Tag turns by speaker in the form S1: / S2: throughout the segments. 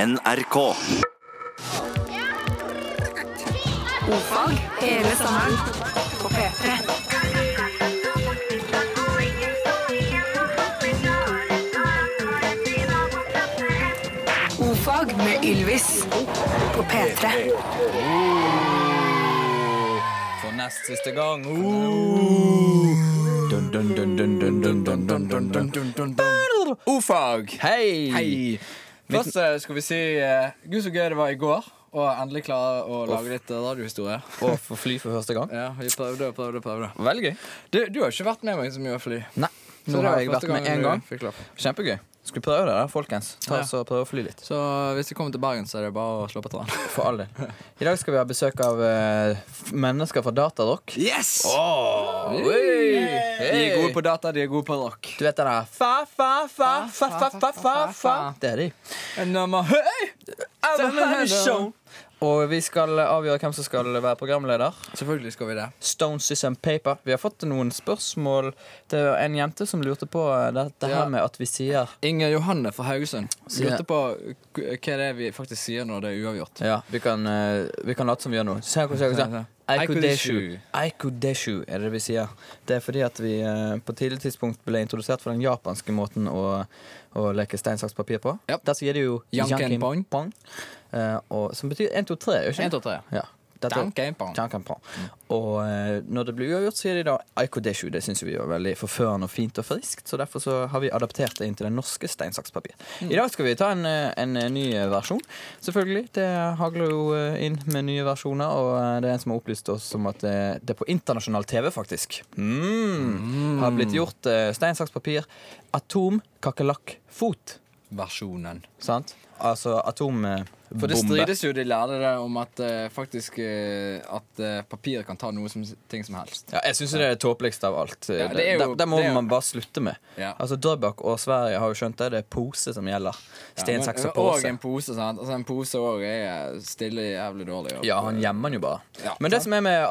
S1: NRK.
S2: Fag hele sommeren på P3. Ofag med Ylvis på P3.
S3: For nest siste gang.
S4: O-fag!
S3: Hei!
S4: Hei!
S3: Først eh, skal vi si eh, Gud, så gøy det var i går å endelig klare å lage litt eh, radiohistorie.
S4: Å få fly for første gang.
S3: Ja, vi prøvde og prøvde og prøvde.
S4: Veldig gøy.
S3: Du, du har ikke vært med meg så mye å fly.
S4: Nei,
S3: Så
S4: nå
S3: det
S4: har
S3: var
S4: jeg
S3: første
S4: vært med
S3: gangen
S4: én
S3: du
S4: gang.
S3: fikk klapp.
S4: Kjempegøy. Skulle prøve det, der, folkens. Ta
S3: Ja.
S4: oss og Prøve å fly litt.
S3: Så hvis du kommer til Bergen, så er det bare å slå på tråden.
S4: For all del. I dag skal vi ha besøk av eh, f- mennesker fra Datarock.
S3: Yes! De
S4: Hey.
S3: er gode på data, de er gode på rock.
S4: Du vet den der fa, fa, fa, fa, fa, fa, fa, fa. Det er de.
S3: And I'm a, hey! I'm a
S4: Hey, show. Og vi skal avgjøre hvem som skal være programleder.
S3: Selvfølgelig skal vi det.
S4: Stone System Paper. Vi har fått noen spørsmål. Det var en jente som lurte på dette
S3: Ja.
S4: her med at vi sier
S3: Inger Johanne fra Haugesund
S4: Ja.
S3: lurte på k- hva det er vi faktisk sier når det er uavgjort.
S4: Ja, vi kan, eh, vi kan late som vi gjør noe. Se hva se hva- se hva. Aikodeshu. Aikodeshu er det vi sier. Det er fordi at vi eh, på tidlig tidspunkt ble introdusert for den japanske måten å, å leke stein, saks, papir på.
S3: Ja.
S4: Der sier de jo
S3: Janken
S4: janken
S3: pong.
S4: pong, eh, og, som betyr 1, 2, 3, gjør ikke
S3: En, to, tre.
S4: Ja. Dette-
S3: Janken pong.
S4: Janken pong. Og eh, når det blir uavgjort, sier de da Aikodeshu. Det syns vi var veldig forførende og fint og friskt, så derfor så har vi adaptert det inn til den norske stein, saks, papir.
S3: Mm.
S4: I dag skal vi ta en, eh, en eh, ny versjon, selvfølgelig. Det hagler jo eh, inn med nye versjoner, og eh, det er en som har opplyst oss om at eh, det er på internasjonal TV, faktisk. Mm. Har blitt gjort eh, stein, saks, papir, atom, kakerlakk, fot.
S3: Versjonen.
S4: Sant? Altså atombombe.
S3: For det strides jo, de lærde det, om at eh, faktisk eh, at eh, papir kan ta noe som, ting som helst.
S4: Ja, jeg syns det er det tåpeligste av alt.
S3: Ja,
S4: det,
S3: det er jo-
S4: det må
S3: det er jo-
S4: man bare slutte med.
S3: Ja.
S4: Altså Drøbak og Sverige har jo skjønt det. Det er pose som gjelder. Stein, saks og
S3: Og
S4: pose.
S3: en pose, sant. Altså, en pose òg er stille jævlig dårlig. og-
S4: Ja, han gjemmer den jo bare.
S3: Ja,
S4: Men det som er med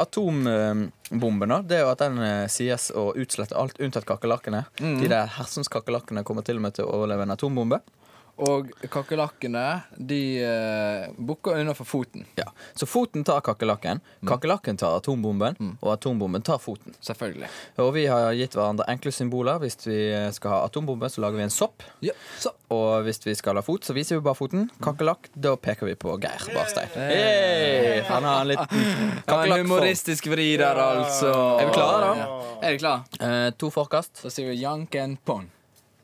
S4: atombomben, da, det er jo at den eh, sies å utslette alt unntatt kakerlakkene.
S3: Mm.
S4: De der hersens kakerlakkene kommer til og med til å overleve en atombombe.
S3: Og kakerlakkene, de eh, bukker under for foten.
S4: Ja. Så foten tar kakerlakken,
S3: Mm.
S4: kakerlakken tar atombomben, og atombomben tar foten.
S3: Selvfølgelig.
S4: Og vi har gitt hverandre enkle symboler. Hvis vi eh, skal ha atombombe, så lager vi en sopp.
S3: Ja, så
S4: Og hvis vi skal ha fot, så viser vi bare foten. Kakerlakk, da peker vi på Geir Barstein. Hey! Han har en liten kakerlakkform.
S3: vri der, altså.
S4: Er vi klare, da?
S3: Er vi klare?
S4: Eh, to forkast.
S3: Da sier vi janken pon.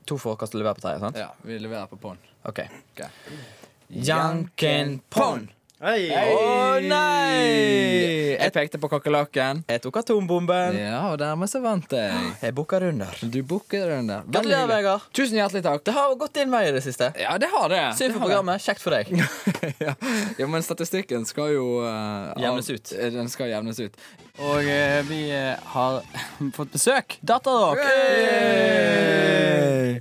S4: To forkast til lever på tredje, sant?
S3: Ja, vi leverer på pon.
S4: Ok.
S3: Ok.
S4: Janken pon!
S3: Å
S4: nei!
S3: Jeg pekte på kakerlakken.
S4: Jeg tok atombomben.
S3: Ja, og dermed så vant jeg.
S4: Jeg bukker under.
S3: Du booker den der. Veldig
S4: Gratulerer,
S3: hyggelig.
S4: Vegard.
S3: Tusen hjertelig takk.
S4: Det har gått din vei i det siste.
S3: Ja, det har det.
S4: Synd
S3: Det
S4: for
S3: har
S4: programmet. Kjekt for deg.
S3: det. ja. ja, men statistikken skal jo eh,
S4: Jevnes
S3: av-
S4: ut.
S3: eh, Den skal jevnes ut. Og eh, vi eh, har fått besøk. Datterrock.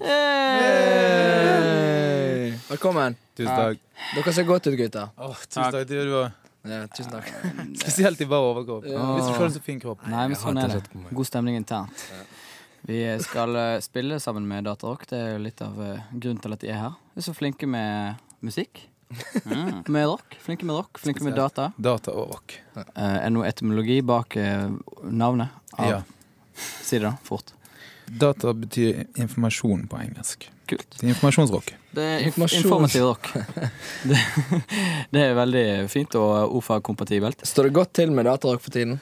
S4: Hey!
S3: Hey! Velkommen. Eh,
S5: Tusen takk.
S3: Dere ser godt ut, gutter.
S5: Tusen takk, det gjør du òg.
S3: Ja, tusen takk.
S5: Spesielt i bar overkropp. Hvis du får en så fin kropp.
S6: Nei, men sånn er det. God stemning internt. Vi skal eh, spille sammen med Datarock. Det er jo litt av eh, grunnen til at de er her. De er så flinke med musikk. Ja. Med rock. Flinke med rock, flinke med data.
S5: Data og rock.
S6: Eh, Er noe etymologi bak eh, navnet? Av,
S5: Ja.
S6: Si det, da. Fort.
S5: Data betyr informasjon på engelsk.
S6: Kult.
S5: Det er informasjonsrock.
S6: Det er inf
S3: Informasjon.
S6: informativ rock. Det, det er veldig fint og ordfagkompatibelt.
S3: Står det godt til med Datterrock for tiden?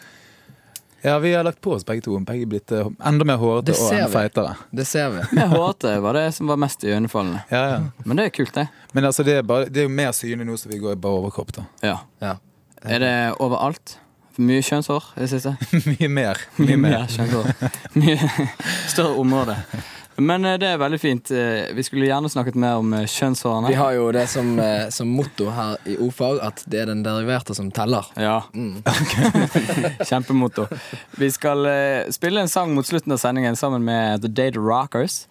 S5: Ja, vi har lagt på oss begge to. Begge er blitt eh, enda mer hårete
S3: Det
S5: og
S3: ser
S5: enda
S3: vi.
S5: feitere.
S3: Det ser vi.
S6: Jeg hårete var det som var mest iøynefallende.
S5: Ja, ja.
S6: Men det er kult, det.
S5: Men altså, det er, bare, det er jo mer synlig nå som vi går i bar overkropp, da.
S6: Ja.
S3: Ja.
S6: Er det overalt? Mye kjønnshår i det siste?
S5: Mye mer.
S6: Mye
S5: Mye mer.
S6: mer skjønner. Mye større område. Men eh, det er veldig fint. Eh, Vi skulle gjerne snakket mer om eh, kjønnshårene.
S3: Vi har jo det som, eh, som motto her i O-fag at det er den deriverte som teller.
S6: Ja. Kjempemotto. Vi skal eh, spille en sang mot slutten av sendingen sammen med The Data Rockers.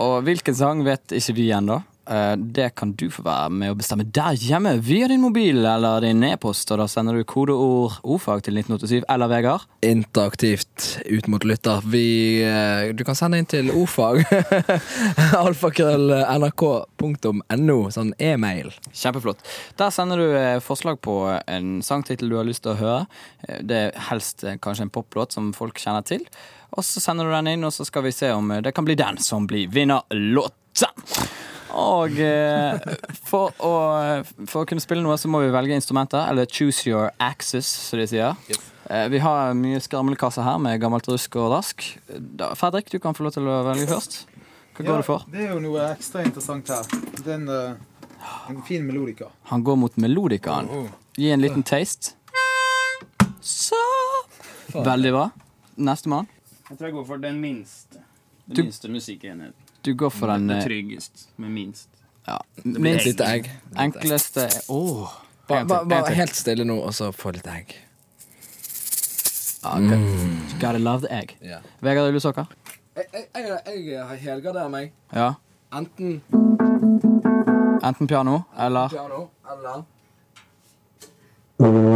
S6: Og hvilken sang vet ikke vi ennå,
S4: eh, det kan du få være med å bestemme der hjemme via din mobil eller din e-post. Og da sender du kodeord ordfag til 1987 eller Vegard.
S3: interaktivt ut mot lytter. Vi, eh, du kan sende inn til ordfag. Alfakrøll.nrk.no. Sånn e-mail.
S4: Kjempeflott. Der sender du eh, forslag på en sangtittel du har lyst til å høre. Eh, Det er helst eh, kanskje en poplåt som folk kjenner til. Og så sender du den inn, og så skal vi se om eh, det kan bli den som blir vinnerlåta. Og eh, for, å, for å kunne spille noe, så må vi velge instrumenter. Eller choose your axis, som de sier. Eh, Vi har mye skramlekasse her med gammelt rusk og rask. Da, Fredrik, du kan få lov til å velge først. Hva går du for?
S5: Det er jo noe ekstra interessant her. Det er en, eh, en fin melodika.
S4: Han går mot melodikaen. Gi en liten taste. Så Veldig bra. Nestemann.
S7: Jeg tror jeg går for den minste. Den
S4: Du-
S7: minste musikkenheten.
S4: Du går for den
S7: Den
S4: eh,
S7: tryggest, men minst.
S4: ja,
S3: Et
S4: minst
S3: lite egg.
S4: enkleste Åh.
S3: Bare
S4: En til,
S3: ba,
S4: en
S3: ba,
S4: til.
S3: helt stille nå, og så få litt egg.
S4: Ja, ok. Gotta love the egg.
S3: Ja.
S4: Vegard Ulvsåker.
S3: Jeg, har helgardert meg.
S4: Ja.
S3: Enten
S4: Enten piano eller
S3: piano eller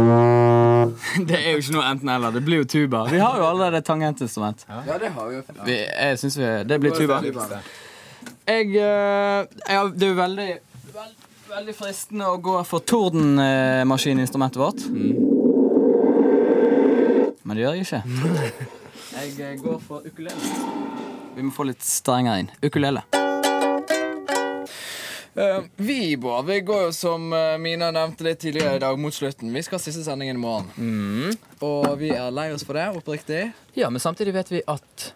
S4: Det er jo ikke noe enten-eller. Det blir jo tuba. Vi har jo allerede tangentinstrument.
S3: Ja, det har vi jo.
S4: Vi, jeg syns vi Det blir tuba. Jeg, eh, ja, Det er jo veldig veld, Veldig fristende å gå for tordenmaskininstrumentet vårt. Men det gjør jeg ikke. Jeg eh, går for ukulele. Vi må få litt strengere inn. Ukulele.
S3: Eh, vi, Bård, vi går jo som eh, Mina nevnte litt tidligere i dag, mot slutten. Vi skal ha siste sendingen i morgen. Og vi er lei oss for det, oppriktig.
S8: Ja, men samtidig vet vi at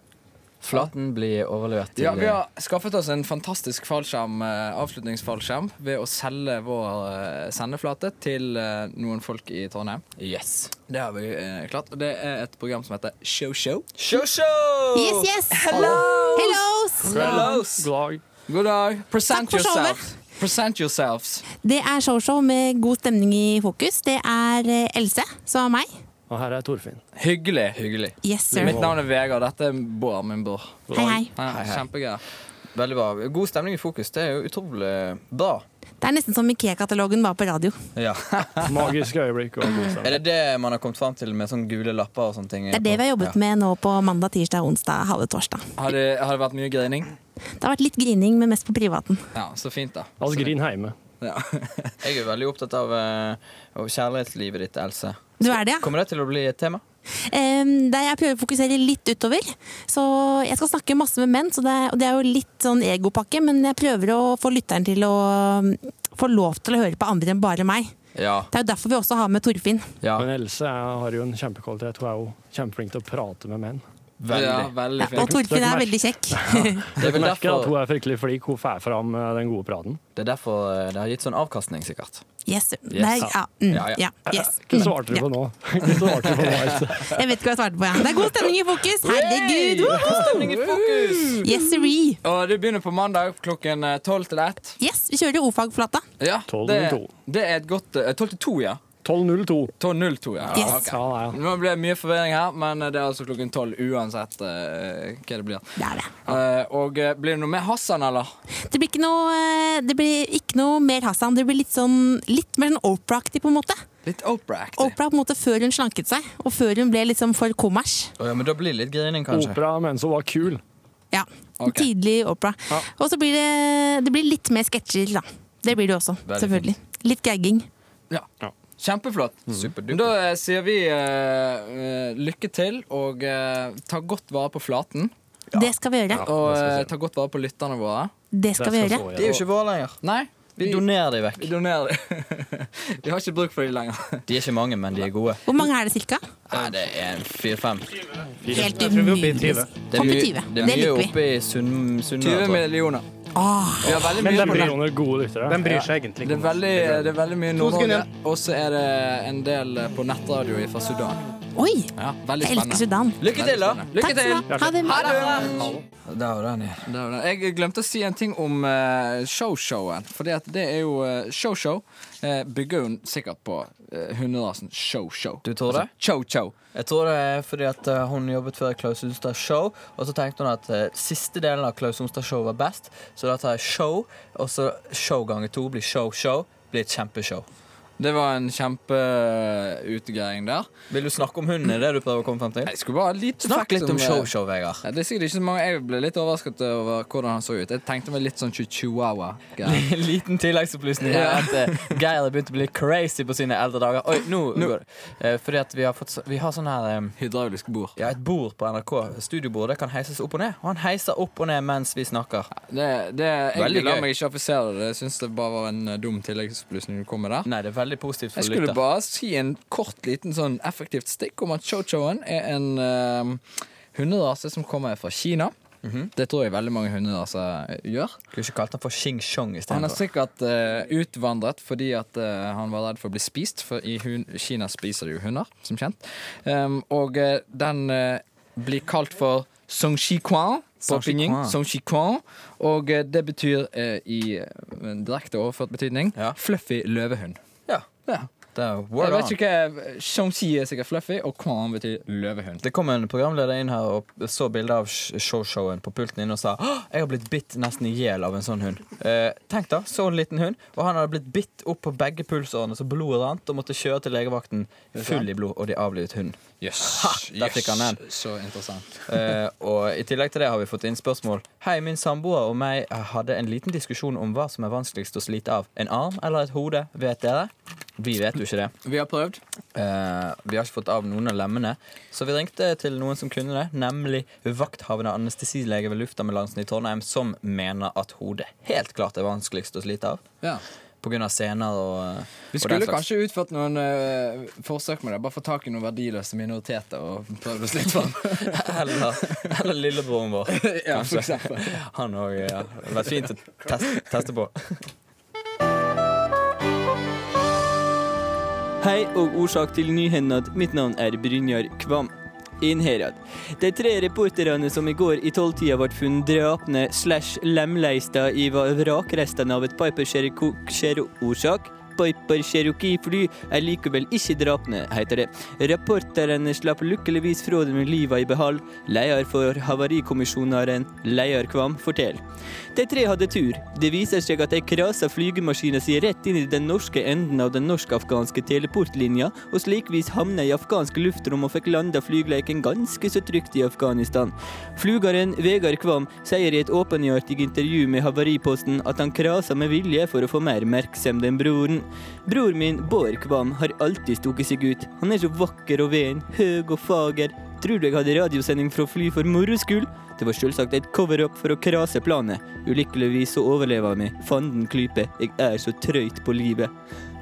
S8: Flaten blir overlevert til
S3: Ja, Vi har skaffet oss en fantastisk fallskjerm, eh, avslutningsfallskjerm ved å selge vår eh, sendeflate til eh, noen folk i Trondheim.
S8: Yes.
S3: Det har vi eh, klart. Og det er et program som heter Show Show.
S9: Yes, yes. Hello.
S3: God dag. God dag. Present
S9: Takk for showet.
S3: yourself. Present yourselves.
S9: Det er showshow med god stemning i fokus. Det er eh, Else, som er meg.
S6: Og her er Torfinn.
S3: Hyggelig. Hyggelig.
S9: Yes, sir.
S3: Mitt navn er Vegard. Dette er Bård, min bror.
S9: Hei, hei.
S3: Ja, Kjempegøy.
S8: Veldig bra. God stemning i fokus. Det er jo utrolig bra.
S9: Det er nesten som Ikea-katalogen var på radio.
S8: eh, Ja.
S6: Magiske øyeblikk. og god stemning.
S8: Er det det man har kommet fram til med sånne gule lapper og sånne ting?
S9: Det er det vi har jobbet med nå på mandag, tirsdag, onsdag, halve torsdag.
S3: Har det, har det vært mye grining?
S9: Det har vært litt grining, men mest på privaten.
S3: Ja, så fint, da.
S6: Altså, grin heime.
S3: Ja.
S8: Jeg er veldig opptatt av, eh, av kjærlighetslivet ditt, Else.
S9: Du er det, ja?
S8: Kommer det til å bli et tema?
S9: Em, der jeg prøver å fokusere litt utover. Så jeg skal snakke masse med menn, så det er, og det er jo litt sånn egopakke, men jeg prøver å få lytteren til å mm, få lov til å høre på andre enn bare meg.
S8: Ja.
S9: Det er jo derfor vi også har med Torfinn.
S8: ja.
S6: Men Else er- har jo en kjempekvalitet. Hun er jo kjempeflink til å prate med menn.
S8: Veldig.
S3: Ja, veldig
S9: Og
S3: fint.
S9: Torfinn
S6: Dere
S9: er
S6: merker-
S9: veldig kjekk.
S8: Det, er
S6: Du
S8: vel
S6: merker at hun
S8: derfor,
S6: er fryktelig flink. Hun får fram eh, den gode praten.
S8: det er derfor eh, det har gitt sånn avkastning, sikkert.
S9: Yes. Nei, ja. Mm,
S8: Ja, ja.
S9: ja. Yes.
S6: Hva svarte du på nå? Hva svarte du på nå, Else?
S9: Jeg vet ikke hva jeg svarte på. Ja. Det er god stemning i fokus! Herregud! Woo!
S3: Stemning i fokus.
S9: Yes, siree.
S3: Og det begynner på mandag klokken eh, 12 til 1.
S9: Yes, vi kjører ordfagflata.
S3: Ja,
S6: 12
S3: det,
S6: til to.
S3: det er et godt eh, 12 til 2, ja.
S6: 12.02.
S3: 12.02, ja.
S9: Yes.
S6: Ja, ja.
S3: Nå ble det mye forvirring her, men det er altså klokken 12 uansett eh, hva det blir.
S9: Det er det.
S3: Eh, og eh, blir det noe med Hassan, eller?
S9: Det blir ikke noe, eh, det blir ikke noe mer Hassan. Det blir litt, sånn, litt mer sånn Oprah-aktig, på en måte.
S3: Litt Opera-aktig.
S9: Oprah på en måte før hun slanket seg, og før hun ble liksom for kommers.
S8: Å, ja, men da blir det litt grining, kanskje.
S6: Opera mens hun var kul.
S9: Ja,
S3: Ok.
S9: Tidlig Oprah. Og så blir det, det blir litt mer sketsjer, da. Det blir det også, selvfølgelig. Litt gagging.
S3: Ja. Kjempeflott.
S8: Mm. Superduper.
S3: Da eh, sier vi eh, eh, lykke til, og eh, ta godt vare på flaten.
S9: Det skal vi gjøre.
S3: Og eh, ta godt vare på lytterne våre.
S9: Det skal vi gjøre.
S8: De er jo ikke våre lenger.
S3: Nei,
S8: Vi donerer de vekk.
S3: vi donerer dem. vi har ikke bruk for dem lenger.
S8: De er ikke mange, men de er gode.
S9: Hvor mange er det cirka?
S8: Nei, det er en fire-fem.
S9: Helt umulig.
S8: Det er
S9: Opp i
S8: mye,
S9: 20.
S8: det er
S9: Det
S8: mye
S9: liker vi.
S8: oppe i Sunn- Sunnmøre.
S3: 20
S8: tror jeg.
S3: millioner. Vi har veldig
S6: Men
S3: mye
S6: den bryr noen gode lyttere.
S7: bryr seg egentlig
S3: Det er veldig, det er veldig mye Nord-Norge, og så er det en del på eh, nettradio fra Sudan.
S9: Oi!
S3: Ja, veldig
S9: Jeg elsker
S3: spennende.
S9: Sudan.
S4: Lykke til, da!
S3: Lykke
S9: Takk skal
S3: til!
S9: du ha. Ha det.
S3: Ha det!
S4: Da var den, ja.
S3: Det var det. Jeg glemte å si en ting om eh, show-showen. Fordi at det er jo eh, show-show. eh, bygger jo sikkert på eh, hunderasen show-show. Altså,
S4: Du tror det?
S3: Cho-cho.
S4: Jeg tror det er fordi at eh, hun jobbet før Klaus Sonstad Show, og så tenkte hun at eh, siste delen av Klaus Sonstad Show var best, så da tar jeg show, og så show ganger to blir show-show, blir et kjempeshow.
S3: Det var en kjempeutegreiing der.
S4: Vil du snakke om hunden, er det du prøver å komme frem til?
S3: Jeg skulle bare ha litt
S4: Snakk litt om
S3: det.
S4: show-show, Vegard.
S3: Nei, det er sikkert ikke så mange Jeg ble litt overrasket over hvordan han så ut. Jeg tenkte meg litt sånn chihuahua-greier.
S4: En liten tilleggsopplysning er at eh, Geir har begynt å bli crazy på sine eldre dager. Oi, nå, går det. Eh, fordi at vi har, fått, så- vi har sånn her eh,
S3: Hydraulisk bord.
S4: ja, et bord på NRK, studiobord, det kan heises opp og ned. Og han heiser opp og ned mens vi snakker.
S3: Det, det,
S4: Veldig
S3: jeg la
S4: gøy.
S3: meg ikke affisere det. Jeg syns det bare var en eh, dum tilleggsopplysning du kom med der.
S4: Nei, det er veldig positivt for
S3: Jeg skulle
S4: lytter.
S3: bare si en kort, liten sånn effektivt stikk om at chochoen er en uh, hunderase som kommer fra Kina. Det tror jeg veldig mange hunderaser gjør.
S4: Mhm. Skulle ikke kalt han for Xing Chong
S3: Han er
S4: istedenfor.
S3: sikkert eh, utvandret fordi at eh, han var redd for å bli spist, for i hun Kina spiser de jo hunder, som kjent. Em, og eh, den eh, blir kalt for Song Quan på
S4: Song Shi
S3: pinyin.
S4: Quan.
S3: Song Quan. Og eh, det betyr eh, i eh, en direkte overført betydning
S4: Ja.
S3: fluffy løvehund.
S4: Ja.
S3: Ja.
S4: Det er
S3: Jeg
S4: word
S3: vet
S4: on.
S3: ikke hva Shongxi er sikkert fluffy, og Quan betyr løvehund.
S4: Det kom en programleder inn her og så bilde av sh- showshowen på pulten inne og sa «Åh, jeg har blitt bitt nesten i hjel av en sånn hund. Eh, tenk da, så en liten hund, og han hadde blitt bitt opp på begge pulsårene så blodet rant, og måtte kjøre til legevakten full i blod, og de avlivet hunden.
S3: Jøss.
S4: der fikk han den.
S3: Så interessant.
S4: Eh, og I tillegg til det har vi fått inn spørsmål. Hei, min samboer og meg hadde en liten diskusjon om hva som er vanskeligst å slite av. En arm eller et hode? Vet dere? Vi vet jo ikke det.
S3: Vi har prøvd.
S4: Eh, vi har ikke fått av noen av lemmene, så vi ringte til noen som kunne det, nemlig vakthavende anestesilege ved Luftambulansen i Trondheim, som mener at hodet helt klart er vanskeligst å slite av.
S3: Ja.
S4: På grunn av sener og eh,
S3: Vi
S4: og den
S3: skulle
S4: slags.
S3: kanskje utført noen eh, forsøk med det. Bare få tak i noen verdiløse minoriteter og prøvd oss litt fram.
S4: Eller, eller lillebroren vår.
S3: ja,
S4: kanskje.
S3: for eksempel.
S4: Han òg. Ja. Det hadde vært fint å teste, teste på.
S6: Hei og årsak til nyhendad. Mitt navn er Brynjar Kvam. Innherad. De tre reporterne som i går i tolvtida ble funnet drepne slash lemleista i va- vrakrestene av et Piper Cherokee- Chero- årsak Piper Cherokee-fly er likevel ikke drepne, heter det. Reporterne slapp lykkeligvis fra dem med livet i behold. Leder for Havarikommisjonæren, Leder Kvam, forteller. De tre hadde tur. Det viser seg at de krasa flygemaskina si rett inn i den norske enden av den norsk-afghanske teleportlinja, og slikvis havna i afghansk luftrom og fikk landa flygleiken ganske så trygt i Afghanistan. Flygeren Vegard Kvam sier i et åpenhjertig intervju med Havariposten at han krasa med vilje for å få mer oppmerksomhet enn broren. Bror min, Bård Kvam, har alltid stukket seg ut. Han er så vakker og ven, høg og fager. Tror du jeg hadde radiosending fra fly for moro skyld? Det var selvsagt et cover-up for å krase planet. Ulykkeligvis så overlever jeg meg. Fanden klype, jeg er så trøyt på livet.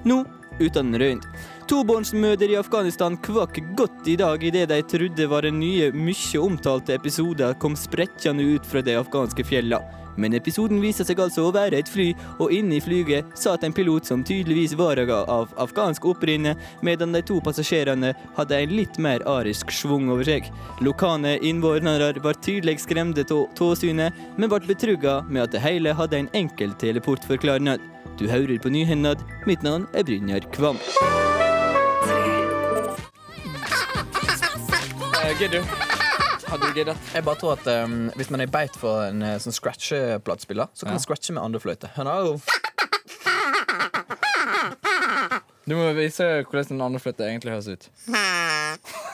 S6: Nå, uten røynt. Tobarnsmødre i Afghanistan kvakk godt i dag idet de trodde var den nye, mye omtalte episoden kom sprekkende ut fra de afghanske fjella. Men episoden viser seg altså å være et fly, og inne i flyget satt en pilot som tydeligvis var av afghansk opprinne, medan de to passasjerene hadde en litt mer arisk svung over seg. Lokale innvånere var tydelig skremte av synet, men ble betrygga med at det hele hadde en enkel teleportforklaring. Du hører på Nyhendad. Mitt navn er Brynjar Kvam.
S3: Gidder du? Eh, Hadde du giddet?
S4: Jeg bare tror at ehm, Hvis man er beit for en eh, sånn scratche-platespiller, så kan man scratche med andre fløyte. Han har jo
S3: Du må vise hvordan den andre fløyta egentlig høres ut.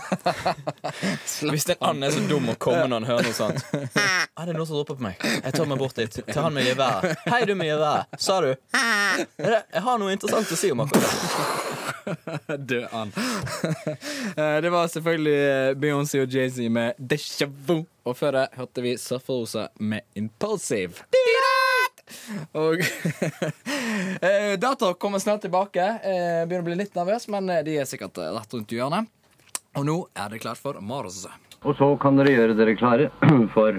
S4: Hvis en and er så dum å komme når han hører noe sånt ah, Det er noen som roper på meg. Jeg tar meg bort dit. Til han med geværet. Hei, du med geværet. Sa du? Er det- Jeg har noe interessant å si om akkurat det.
S3: Død and. Eh, det var selvfølgelig eh, Beyoncé og Jay-Z med Deja Vu. Og før det hørte vi Surferosa med Impulsive. Og eh, Data kommer snart tilbake. Eh, begynner å bli litt nervøs, men eh, de er sikkert eh, rett rundt hjørnet. Og nå er det klart for Mars.
S10: Og så kan dere gjøre dere klare for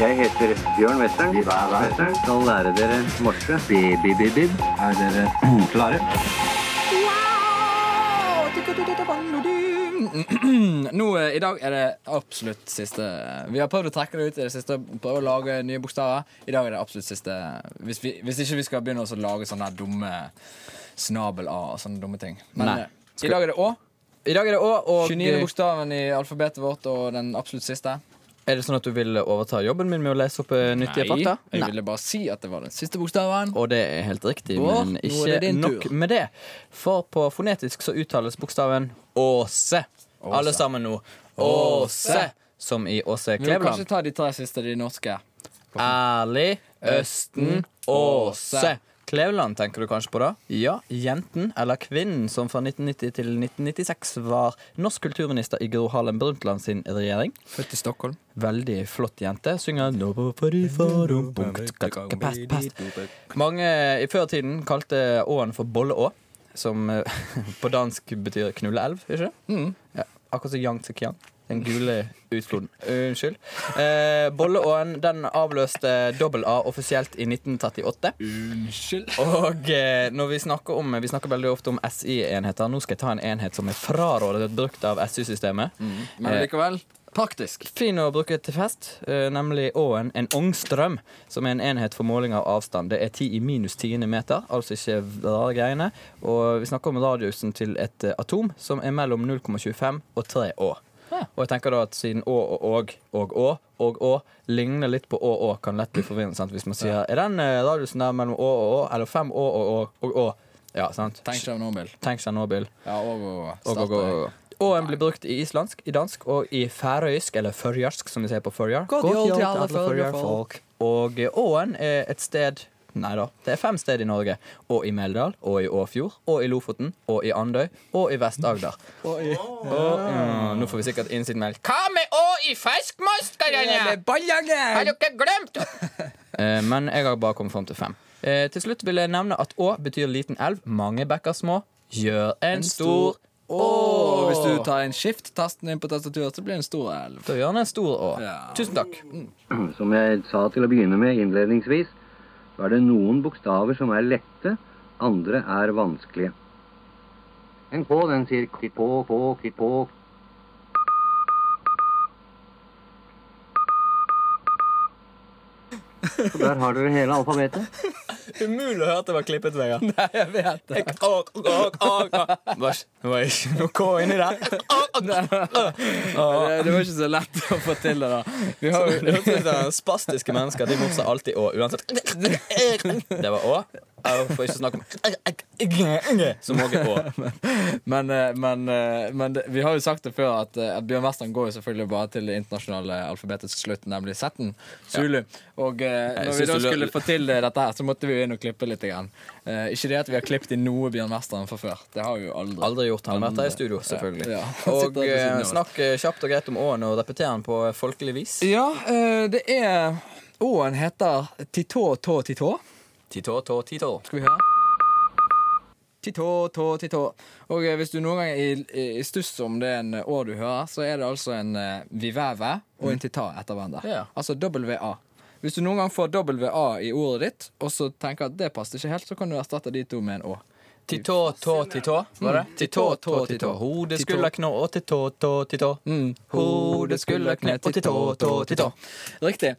S10: Jeg heter Bjørn Western. Western. Skal lære dere morse. Bi-bi-bi-bib. Er dere klare?
S3: Nå, eh, I dag er det absolutt siste. eh, Vi har prøvd å trekke det ut i det siste. Prøve å lage nye bokstaver. I dag er det absolutt siste. eh, Hvis, vi, hvis ikke vi skal begynne å lage sånne her dumme snabel-a og sånne dumme ting. Men
S4: Nei. eh,
S3: eh, i dag er det Å.
S4: I dag er det Å, og
S3: 29. bokstaven i alfabetet vårt og den absolutt siste.
S4: Er det sånn at du vil overta jobben min med å lese opp eh, nyttige
S3: Nei,
S4: fakta?
S3: Jeg ville bare si at det var den siste bokstaven.
S4: Og det er helt riktig,
S3: Bård,
S4: men
S3: nå er det
S4: ikke
S3: din
S4: nok
S3: tur.
S4: med det. For på fonetisk så uttales bokstaven Åse. Alle sammen nå. Åse. Som i Åse
S3: Vi må kanskje
S4: Kleveland.
S3: ta de tre siste, de norske.
S4: Ærlig, Østen, Åse. Kleveland tenker du kanskje på da? Ja, jenten eller kvinnen som fra 1990 til 1996 var norsk kulturminister i Gro Harlem Brundtland sin regjering.
S3: Født i Stockholm.
S4: Veldig flott jente. Synger «Nå på farifarum, punkt, kakka, past, past». Mange i førtiden kalte åen for Bolleå, som eh, på dansk betyr knulleelv, ikke det?
S3: Mm.
S4: Ja, akkurat som Yang Tsekiang. Den gule utfloden. Unnskyld. Eh, Bolleåen den avløste dobbel-A offisielt i 1938.
S3: Unnskyld.
S4: Og eh, når vi snakker om Vi snakker veldig ofte om SI-enheter. Nå skal jeg ta en enhet som er frarådet brukt av SI-systemet.
S3: Men likevel praktisk.
S4: Fin å bruke til fest, eh, nemlig åen en ångstrøm, som er en enhet for måling av avstand. Det er 10 i minus tiende meter, altså ikke rare greiene. Og vi snakker om radiusen til et eh, atom som er mellom 0,25 og 3 å. Og jeg tenker da at siden å og og og å og å ligner litt på å og, kan lett bli forvirrende sant? hvis man sier Er den eh, radiusen der mellom å og å, eller 5 å og å og å? Ja, sant?
S3: Tenk deg om Nobel.
S4: Tenk Tsjernobyl.
S3: Ja, og, og,
S4: Og, og, og, og. Åen blir brukt i islandsk, i dansk og i færøysk, eller førjarsk, som de sier på førjar.
S3: Godt
S4: Godt
S3: jol til
S4: jol
S3: alle førjarfolk.
S4: Og eh, åen er et sted Nei da, det er fem steder i Norge. Og i Meldal, og i Åfjord, og i Lofoten, og i Andøy, og i Vest-Agder. Og- ja, Nå får vi sikkert innsiktmeld. Hva med å i fiskmasterne? Har dere glemt Eh, Men jeg har bare kommet fram til fem. Eh, til slutt vil jeg nevne at å betyr liten elv. Mange bekker små gjør en, stor å.
S3: Og hvis du tar en skift-tasten inn på tastaturet, så blir det en stor elv.
S4: Da gjør han en stor å.
S3: Ja.
S4: Tusen takk.
S10: Som jeg sa til å begynne med innledningsvis, så er det noen bokstaver som er lette, andre er vanskelige. En K, den sier k, k, k, k, k. Så der har dere hele alfabetet.
S4: Umulig å høre at det var klippet, Vegard. Nei, jeg vet det. Og, og, og, og. Vars, Det var ikke noe K inni der.
S3: Det, det var ikke så lett å få til det, da. Vi har jo
S4: Spastiske mennesker de mopser alltid å, uansett. Det var å. Jeg får ikke snakke om som òg er å.
S3: men, eh, men, eh, men det- vi har jo sagt det før at, eh, at Bjørn Western går jo selvfølgelig bare til det internasjonale alfabetets slutt, nemlig Z-en. Zulu. Og eh, når vi
S4: synes
S3: da
S4: du lø-
S3: skulle få til eh, dette her, så måtte vi jo inn og klippe litt. Grann. Eh, ikke det at vi har klippet i noe Bjørn Western fra før. Det har vi jo aldri.
S4: Aldri gjort han. Vært der i studio, selvfølgelig.
S3: Ja, ja.
S4: Og
S3: Sitter her ved
S4: eh,
S3: siden av oss.
S4: snakk eh, kjapt og greit om åen og repeter den på folkelig vis.
S3: Ja, eh, det er Å-en heter Titå Tå Titå.
S4: Titå, tå, titå.
S3: Skal vi høre? Titå, tå, titå. Og eh, hvis du noen gang er i, i stuss om det er en å du hører, så er det altså en eh, viveve og en tita etter hverandre.
S4: Mm. Ja.
S3: Altså WA. Hvis du noen gang får WA i ordet ditt, og så tenker at det passer ikke helt, så kan du erstatte de to med en å.
S4: Titå, tå, titå. Var det? Titå, tå, titå. Hode, skulder, knå og titå, tå, titå.
S6: Mm.
S4: Hode, skulder, kne og titå, tå, titå.
S3: Riktig.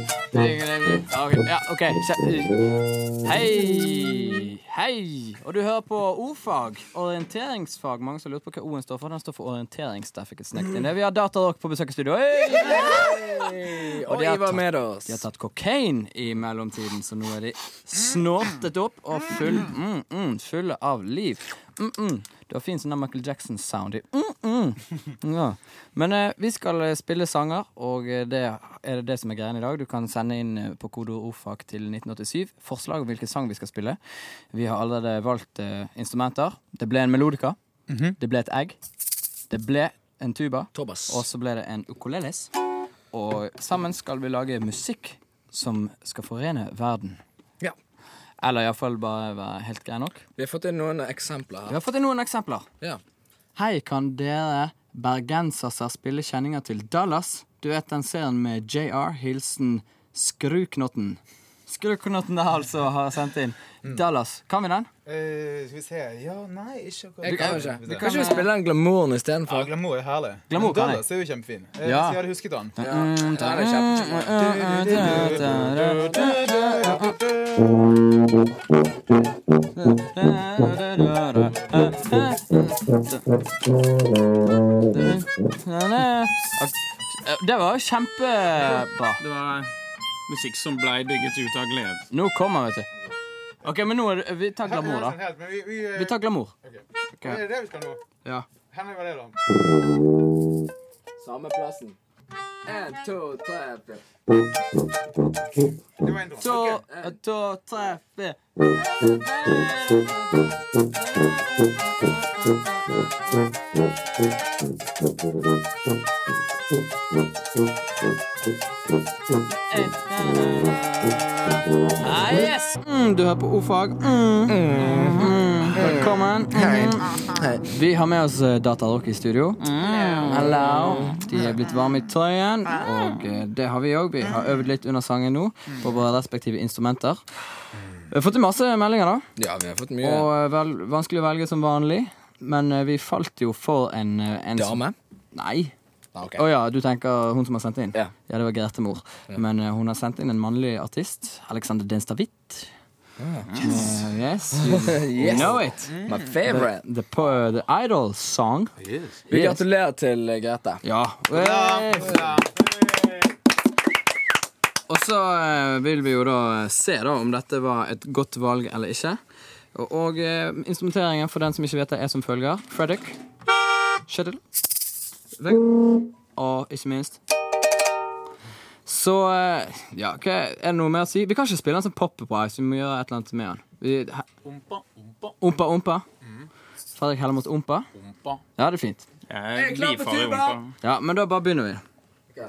S6: Ok, ja, ok. se- Hei. Hei. Og du hører på ordfag. Orienteringsfag. Mange som lurer på hva O-en står for. Den står for orienteringsstaffet. Vi har Datarock på besøk i studio. Hei!
S3: Og
S6: de har
S3: Ivar
S6: tatt-
S3: med oss.
S6: De har tatt kokain i mellomtiden, så nå er de snortet opp og full, mm, mm, fulle av liv. Mm, mm. Det var fint sånn der Michael Jackson-sound i mm, mm. ja. Men eh, vi skal eh, spille sanger, og eh, det er det det som er greia i dag. Du kan sende inn eh, på kodeord ordfag til 1987 forslag om hvilken sang vi skal spille. Vi har allerede valgt eh, instrumenter. Det ble en melodika. Det ble et egg. Det ble en tuba.
S3: Tobas.
S6: Og så ble det en ukuleles. Og sammen skal vi lage musikk som skal forene verden.
S3: Ja.
S6: Eller iallfall bare være helt grei nok.
S3: Vi har fått inn noen eksempler
S6: Vi
S3: her.
S6: har fått inn noen eksempler.
S3: Ja.
S6: Hei, kan dere
S4: Bergenserser spiller kjenninger til Dallas. Du vet den serien med JR, hilsen Skruknotten. Skruknotten der altså har sendt inn. Dallas. Kan vi den?
S5: Eh, skal vi se Ja, nei, ikke akkurat.
S3: Jeg kan jo ikke.
S5: Vi
S3: Kan eh,
S5: ser.
S3: ikke vi spille den glamouren
S5: Ja,
S3: istedenfor?
S5: glamour er herlig.
S4: Glamour
S5: Men
S4: kan jeg.
S5: Dallas er jo kjempefin. Eh,
S4: Ja.
S5: Hvis jeg hadde husket den.
S3: Ja, den er kjempe-
S5: Eh,
S4: Det var jo kjempebra.
S11: Det var musikk som blei bygget ut av glede.
S4: Nå kommer han, vet du. OK, men nå er det, vi tar glamour, da.
S5: Men vi, vi, eh,
S4: Vi tar glamour.
S5: Er det det vi skal nå?
S4: Ja.
S5: Henrik, hva er det da?
S3: Samme plassen. En, to, tre, fire.
S5: Det var en drøm.
S4: To,
S5: Ok.
S4: to, tre, fire. Ah, yes. Mm, du hører på ordfag. Mm. Mm. Velkommen. Mm. Vi har med oss eh, Datarock i studio. Mm. Hello. De er blitt varme i trøyen, og eh, det har vi òg. Vi har øvd litt under sangen nå på våre respektive instrumenter. Vi har fått inn masse meldinger, da.
S3: Ja, vi har fått mye
S4: Og eh, vel, vanskelig å velge som vanlig. Men eh, vi falt jo for en, eh, en som-
S3: dame.
S4: Nei.
S3: Ah, ok.
S4: Å ja, du tenker hun som har sendt inn?
S3: Ja.
S4: det var Grete Mor. Men eh, hun har sendt inn en mannlig artist. Alexander Denstavit. Yes. yes. You know it.
S3: My favorite.
S4: The, po- the Idol song.
S3: Vi gratulerer til eh, Grete.
S4: Ja. Og så eh, vil vi jo da se da om dette var et godt valg eller ikke. Og, og eh, instrumenteringen for den som ikke vet det, er som følger. Fredrik. Shuttle. Vegg. Og ikke minst Så eh, ja, hva, er det noe mer å si? Vi kan ikke spille den som popper på ice. Vi må gjøre et eller annet med den. Vi, he, ompa, ompa. Fredrik heller mot ompa. Ja, det er fint.
S11: Jeg er klar for
S4: Ja, men da bare begynner vi.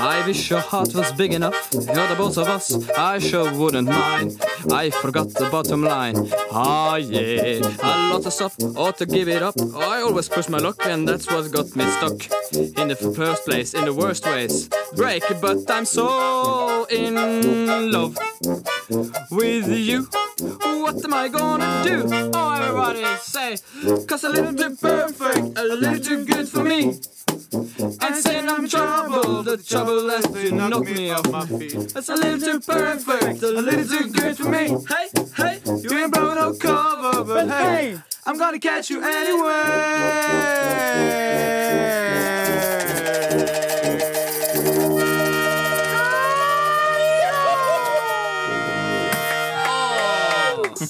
S4: I wish your heart was big enough. You're the boss of us. I sure wouldn't mind. I forgot the bottom line. Ah, yeah. A lot of stuff. Ought to give it up. I always push my luck, and that's what got me stuck. In the first place, in the worst ways. Break, but I'm so in love with you. What am I gonna do? Oh, everybody say, cause a little too perfect, a little too good for me. I said I'm troubled, the trouble has to knock me off my feet. That's a little too perfect, a little too good for me. Hey, hey, you ain't blowing no cover, but hey, I'm gonna catch you anyway.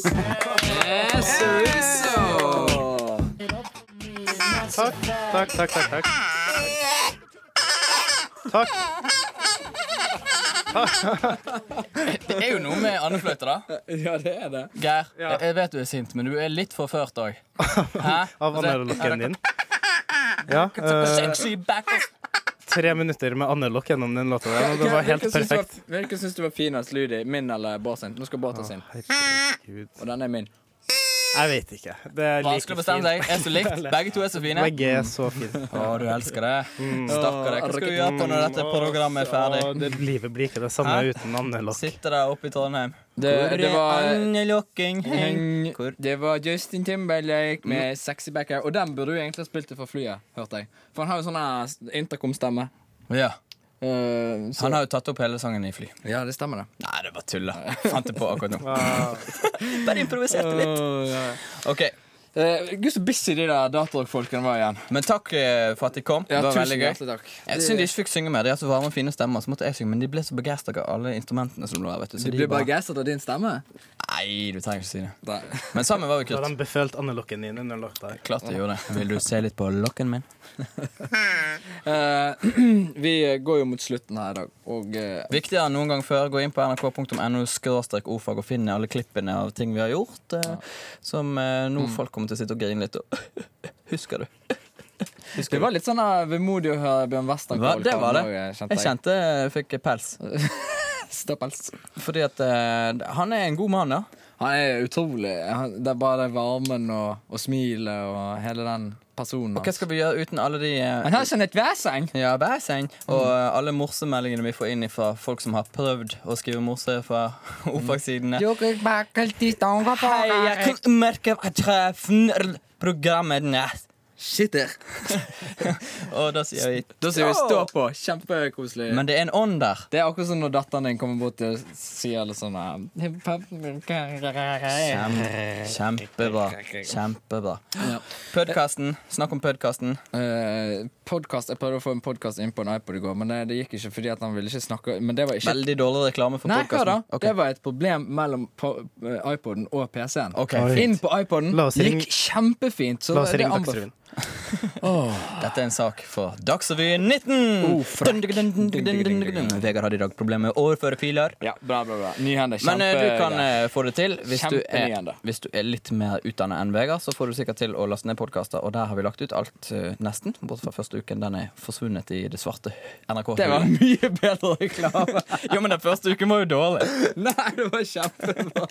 S4: Yes, there is so.
S7: Takk, takk, takk, takk. Takk. takk.
S4: Det er jo noe med andefløyte, da.
S3: Ja, det er det.
S4: Geir, jeg- jeg vet du er sint, men du er litt forført Altså, òg.
S7: Av analokken din. Ja, eh,
S4: Sexy back
S7: tre minutter med analog gjennom den låta der, og det var helt perfekt.
S3: Hvilken syns du var finest lyd i? Min eller Bård sin? Nå skal Bård ta sin.
S7: Gud,
S3: Og den er min.
S7: Jeg vet ikke. Det er
S4: Vanskelig å
S7: like
S4: bestemme
S7: fint.
S4: seg. Er så likt. Begge to er så fine.
S7: Begge Mm. er så fine.
S4: Å, du elsker det. Stakkar deg. Hva skal du gjøre på når dette programmet er
S7: Og
S4: ferdig?
S7: det, livet blir ikke det samme uten analog.
S4: Sitte der oppe i Trondheim.
S3: Det, det var
S4: Andelokking heng. Hvor-
S3: Det var Justin Timberlake med Sexy Backer. Og den burde du egentlig ha spilt fra flyet, hørte jeg. For han har jo sånn eh, intercom-stemme.
S4: Ja.
S3: Eh, så-
S4: Han har jo tatt opp hele sangen i fly.
S3: Ja, det stemmer, det.
S4: Nei, det var tulla. Fant det på akkurat nå. Bare improviserte litt.
S3: Åh, ja.
S4: Ok,
S3: Eh, Gud, så busy de der datarock-folkene var igjen.
S4: Men takk eh, for at de kom. Det
S3: Ja,
S4: var
S3: tusen
S4: veldig gøy.
S3: hjertelig takk.
S4: Jeg syns de ikke fikk synge mer. De har så varme og fine stemmer. Så måtte jeg synge, Men de ble så begeistra av alle instrumentene som lå her. vet du. Så
S3: De
S4: de
S3: blir bare
S4: bare-
S3: gasset av din stemme.
S4: Nei, du trenger ikke si det.
S3: Nei.
S4: Men sammen var vi
S7: Da
S4: kutt.
S7: har de befølt analokken din under låta. her.
S4: Klart jeg gjorde det. Vil du se litt på lokken min?
S3: Eh, vi eh, går jo mot slutten her i dag, og eh,
S4: Viktigere enn noen gang før. Gå inn på nrk.no skråstrek ordfag og finn alle klippene av ting vi har gjort. Eh, Som eh, nå folk kommer til å sitte og grine litt. Og husker du?
S3: det var litt sånn eh, vemodig å høre Bjørn Western
S4: Hva? Det var det. Jeg
S3: Jeg kjente
S4: kjente jeg fikk pels.
S3: Stappels.
S4: Fordi at eh, han er en god mann, ja.
S3: Han er utrolig. Han, det er bare den varmen og, og smilet og hele den personen.
S4: Og hva skal vi gjøre uten alle de eh,
S3: Han har sånn et væseng.
S4: Ja, bæseng. Og eh, alle morsemeldingene vi får inn fra folk som har prøvd å skrive morse fra oppfagssidene. Hei, jeg kan merke at jeg treffen programmene.
S3: Shitter.
S4: Og da sier vi
S3: Da sier vi stå på. Kjempekoselig.
S4: Men det er en ånd der.
S3: det er akkurat som når datteren din kommer bort og sier litt sånn eh,
S4: Kjem- Kjempebra. Kjempebra. Podkasten. Snakk om podkasten.
S3: Eh, podcast, Jeg prøvde å få en podkast inn på en iPod i går, men det, det gikk ikke fordi at han ville ikke snakke Men det var ikke
S4: Veldig dårlig reklame for
S3: Nei, hva da?
S4: podkasten.
S3: Det var et problem mellom po- eh, iPoden og PC-en.
S4: Ok,
S7: Oi.
S3: Inn på iPoden
S7: La oss ringe-
S3: gikk kjempefint. Så
S7: La oss
S3: det
S7: ringe
S3: anbef-
S7: Dagsrevyen.
S4: Dette er en sak for Dagsrevyen 19!
S3: Oh,
S4: Dun, dun, dun, dun, dun, dun, dun, dun. Vegard hadde i dag problemer med å overføre filer.
S3: Ja, bra, bra, bra. Nyhende.
S4: Men eh, du kan
S3: kjempegreier.
S4: eh, få det til hvis du, er,
S3: Kjempenyhende.
S4: hvis du er litt mer utdannet enn Vegard. Så får du sikkert til å laste ned podkaster, og der har vi lagt ut alt eh, nesten. Bortsett fra første uken. Den er forsvunnet i det svarte NRK.
S3: Det var eh, mye bedre reklame.
S4: jo, men den første uken var jo dårlig.
S3: Nei, det var kjempebra.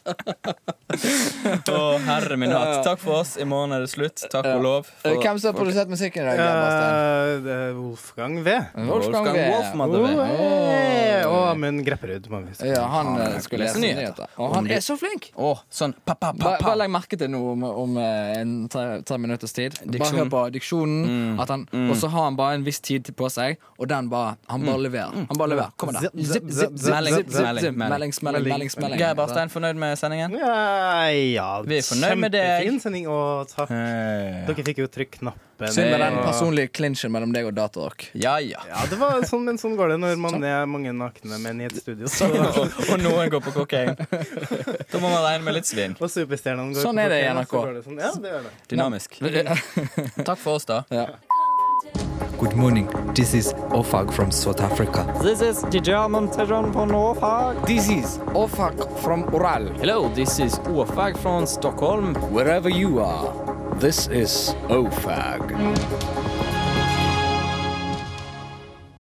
S4: Å, herre min hatt. Takk for oss. I morgen er det slutt. Takk og lov.
S3: Eh,
S4: For
S3: Hvem som har produsert musikken i dag? Bastian?
S7: Eh, det er Wolfgang V.
S3: Wolfgang
S4: Wolfgang
S3: Wee.
S4: Wolfman, det
S7: Oh,
S4: var.
S7: hey. Og Amund Grepperud. må vi si.
S3: Ja, han eh, skulle
S4: lese
S3: lese
S4: nyheter.
S3: nyheter. Og han er så flink!
S4: Å, sånn pa, pa, pa,
S3: Bare,
S4: pa.
S3: bare legg merke til noe om, om eh, en tre, tre minutters tid. Bare
S4: Diksjon.
S3: hør på diksjonen. At han, Og så har han bare en viss tid til på seg, og den bare Han bare leverer. Han bare leverer. Kommer der.
S7: Zip, zip, zip, zip,
S4: Melding,
S7: zip, zip.
S4: melding,
S3: Zip,
S4: melding.
S3: Melding, smelling, melding, smelling.
S4: Geir Barstein, fornøyd med sendingen?
S7: Ja, ja,
S4: Vi er fornøyd med deg.
S7: Kjempefin sending, og takk.
S3: Eh.
S7: Dere fikk jo trykt knappen.
S3: Synd med den
S7: og-
S3: personlige clinchen mellom deg og Datarock.
S4: Ja, ja.
S7: Ja, det var sånn, men sånn går det når man er mange nakne menn i et studio. Så,
S4: Og, og noen går på kokain. Da må man regne med litt svinn.
S7: og superstjernene går
S3: Sånn
S7: på
S3: er det i
S7: kokain, og
S3: NRK.
S7: så går det sånn. Ja, det gjør det.
S4: Dynamisk. Takk for oss, da.
S5: Good morning. This is Ofag from South Africa.
S6: This is the German Tejan på Norfag.
S3: This is Ofak from Oral.
S6: Hello, this is Åfag from Stockholm.
S3: Wherever you are, this is Ofag.